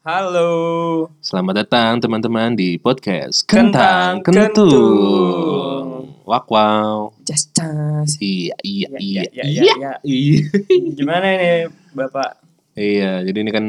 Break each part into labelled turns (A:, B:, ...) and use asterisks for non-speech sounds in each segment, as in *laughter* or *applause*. A: Halo,
B: Selamat datang teman-teman di podcast
A: Kentang
B: Kentang
A: Kentung.
B: Kentung. Wak wow.
A: cas cas.
B: Iya iya
A: Iya,
B: iya
A: iya, iya,
B: iya. Iya.
A: Gimana ini Bapak?
B: Iya, jadi ini kan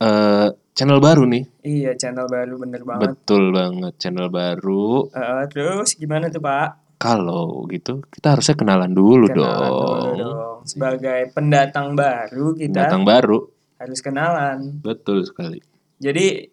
B: eh, channel baru nih.
A: Iya channel baru bener banget.
B: Betul banget channel baru.
A: Eh, terus gimana tuh Pak?
B: Kalau gitu kita harusnya kenalan dulu
A: Kenalan dulu
B: dong.
A: dong. Sebagai pendatang baru kita
B: Datang baru.
A: harus kenalan.
B: Betul sekali.
A: Jadi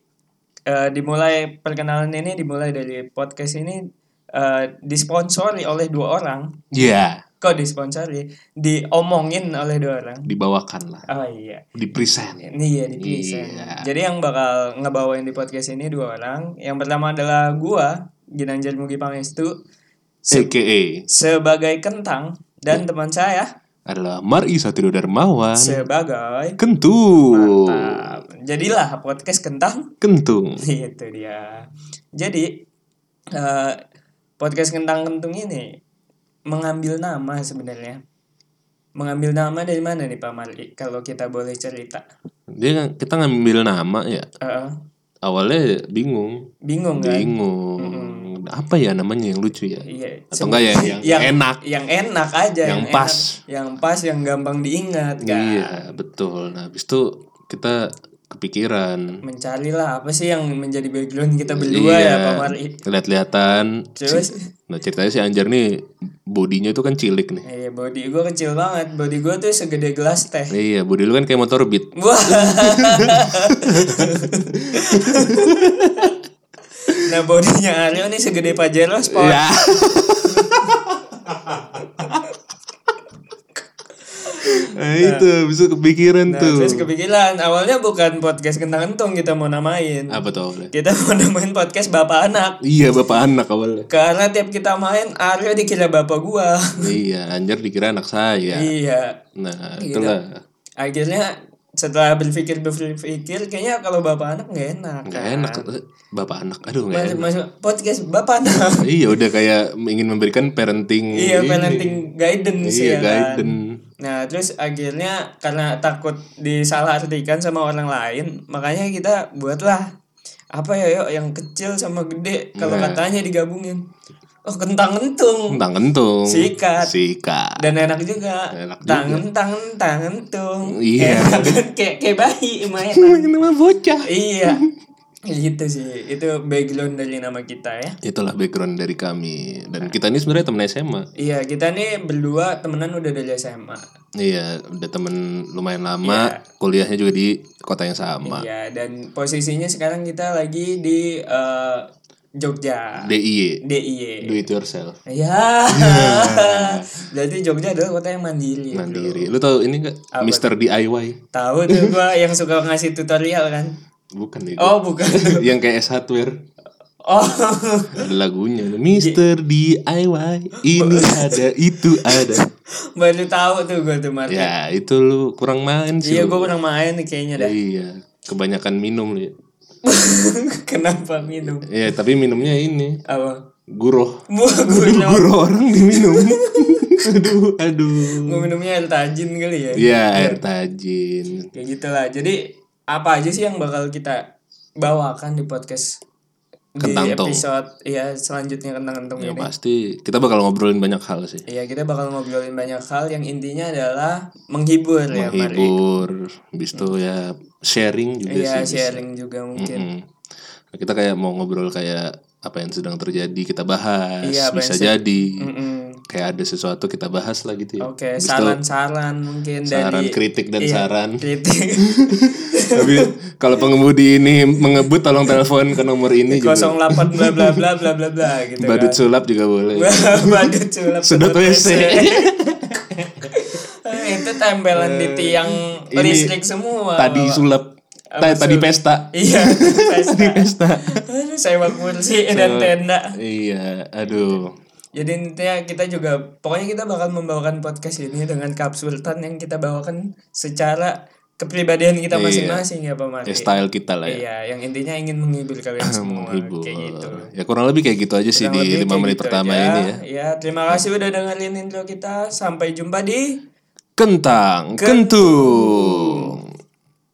A: eh, dimulai perkenalan ini dimulai dari podcast ini eh, disponsori oleh dua orang.
B: Iya,
A: Kok disponsori? Diomongin oleh dua orang.
B: dibawakan lah,
A: Oh iya.
B: di present.
A: Ini ya di present.
B: Iya.
A: Jadi yang bakal ngebawain di podcast ini dua orang. Yang pertama adalah gua, Ginanjar Mugi Pangestu se-
B: AKA
A: sebagai kentang
B: Iya.
A: dan teman saya
B: adalah Mari Satrio Darmawan.
A: sebagai
B: Kentung.
A: Mantap. Jadilah podcast kentang. *laughs*
B: Kentung.
A: Itu dia. Jadi eh, podcast kentang kentung ini mengambil nama sebenarnya. Mengambil nama dari mana nih Pak Marli? Kalau kita boleh cerita.
B: Dia kita ngambil nama ya.
A: Eh,
B: Awalnya bingung,
A: bingung kan?
B: bingung. Apa ya namanya yang lucu ya?
A: Iya.
B: Atau enggak ya yang,
A: Yang-
B: enak?
A: yang enak aja
B: Yang
A: enak.
B: pas.
A: yang pas yang gampang diingat kan
B: Iya, betul. Nah, habis itu kita kepikiran.
A: mencarilah apa sih yang menjadi background kita berdua
B: Iya.
A: ya Pak Mari
B: Lihat-lihatan.
A: Terus?
B: Si- Nah, ceritanya si Anjar nih bodinya tuh kan cilik nih.
A: eh body gue kecil banget body gue tuh segede gelas teh
B: Iya, body lu kan kayak motor beat.
A: wah nah bodinya Aryo nih segede pajero sport
B: Ya. *laughs* nah, itu habis itu kepikiran
A: nah,
B: tuh.
A: terus kepikiran awalnya bukan podcast kentang kentung kita mau namain
B: Apa tuh awalnya?
A: kita mau namain podcast bapak anak
B: Iya, bapak anak awalnya.
A: karena tiap kita main Aryo dikira bapak gua
B: iya, Anjar dikira anak saya.
A: iya
B: Nah,
A: Iya.
B: itulah.
A: akhirnya setelah berpikir berpikir kayaknya kalau bapak anak nggak enak
B: Gak
A: kan?
B: enak bapak anak. Aduh,
A: Mas-
B: gak enak.
A: masuk podcast bapak anak
B: *laughs* Iya, udah kayak ingin memberikan parenting.
A: iya
B: ini.
A: parenting guidance
B: Iya,
A: ya kan?
B: guidance.
A: nah terus akhirnya karena takut disalahartikan sama orang lain makanya kita buatlah apa ya yuk yang kecil sama gede kalau
B: Nah.
A: katanya digabungin oh kentang kentung
B: Tentang kentung.
A: Sikat. *laughs*
B: Sikat.
A: dan enak juga
B: Enak juga.
A: tangen tangen tangen tung
B: Iya.
A: Enak kan? *laughs* kayak kayak bayi emangnya
B: Nama bocah.
A: iya gitu sih itu background dari nama kita ya
B: Itulah background dari kami. Dan kita ini sebenarnya teman SMA.
A: iya kita nih berdua temenan udah dari SMA
B: Iya, udah temen lumayan lama. Kuliahnya juga di kota yang sama.
A: iya dan posisinya sekarang kita lagi di eh, Jogja
B: DIY,
A: DIY
B: do it yourself.
A: ya jadi Jogja adalah kota yang mandiri bro.
B: Mandiri. Lu tahu ini enggak Mr DIY?
A: tahu tuh gua yang suka ngasih tutorial kan
B: Bukan ya.
A: oh bukan
B: *laughs* yang kayak S hardware
A: oh *laughs*
B: ada lagunya Mister DIY
A: *laughs*
B: ini ada itu ada
A: baru tahu tuh gua tuh Martin
B: ya itu lu kurang main sih
A: iya
B: lu.
A: gua kurang main nih kayaknya dah
B: iya kebanyakan minum lu ya.
A: *laughs* kenapa minum
B: ya tapi minumnya ini
A: apa
B: guruh
A: Wah, gua
B: guruh orang
A: *laughs*
B: diminum aduh aduh
A: Gue minumnya air tajin kali ya.
B: ya air tajin
A: Kayak gitu lah. Jadi apa aja sih yang bakal kita bawakan di podcast
B: Kentang
A: di
B: Tong.
A: episode ya selanjutnya tentang kentung
B: ya
A: ini.
B: pasti kita bakal ngobrolin banyak hal sih
A: Iya, kita bakal ngobrolin banyak hal yang intinya adalah menghibur, ya, Mari.
B: menghibur bis itu ya sharing juga
A: Iya,
B: sih
A: sharing juga mungkin.
B: Mm. Nah, Kita kayak mau ngobrol kayak apa yang sedang terjadi kita bahas,
A: Iya, apa yang
B: bisa
A: sed-
B: jadi
A: Mm-mm.
B: kayak ada sesuatu kita bahas lah gitu ya.
A: Oke,
B: Habis itu
A: saran-saran mungkin
B: saran
A: dari
B: kritik dan
A: iya, *laughs*
B: saran.
A: kritik
B: *laughs* Tapi kalau pengemudi ini mengebut tolong telepon ke nomor ini juga.
A: 08 bla bla bla bla bla bla gitu. kan.
B: Badut sulap juga
A: *laughs*
B: boleh. ya,
A: Badut sulap
B: Sedot WC.
A: *laughs* itu tempelan di tiang
B: Eh, ini
A: listrik semua
B: tadi
A: Bapak.
B: sulap.
A: Apa
B: Ta- tadi
A: sul-
B: pesta. *laughs*
A: iya
B: Tadi
A: pesta
B: pesta.
A: Aduh, sewa kursi dan tenda
B: Iya, aduh.
A: jadi intinya kita juga pokoknya kita bakal membawakan podcast ini dengan kapsultan yang kita bawakan secara kepribadian kita
B: Iya.
A: masing-masing ya Pak Mari
B: Ya style kita lah ya.
A: iya yang intinya ingin menghibur
B: *laughs*
A: kalian semua
B: Menghibur.
A: kayak gitu
B: Ya kurang lebih kayak gitu aja sih
A: Kurang
B: di
A: lebih
B: lima
A: kayak
B: menit
A: gitu
B: pertama
A: aja.
B: ini ya.
A: ya terima kasih udah dengerin intro kita sampai jumpa di
B: Kentang, kentung.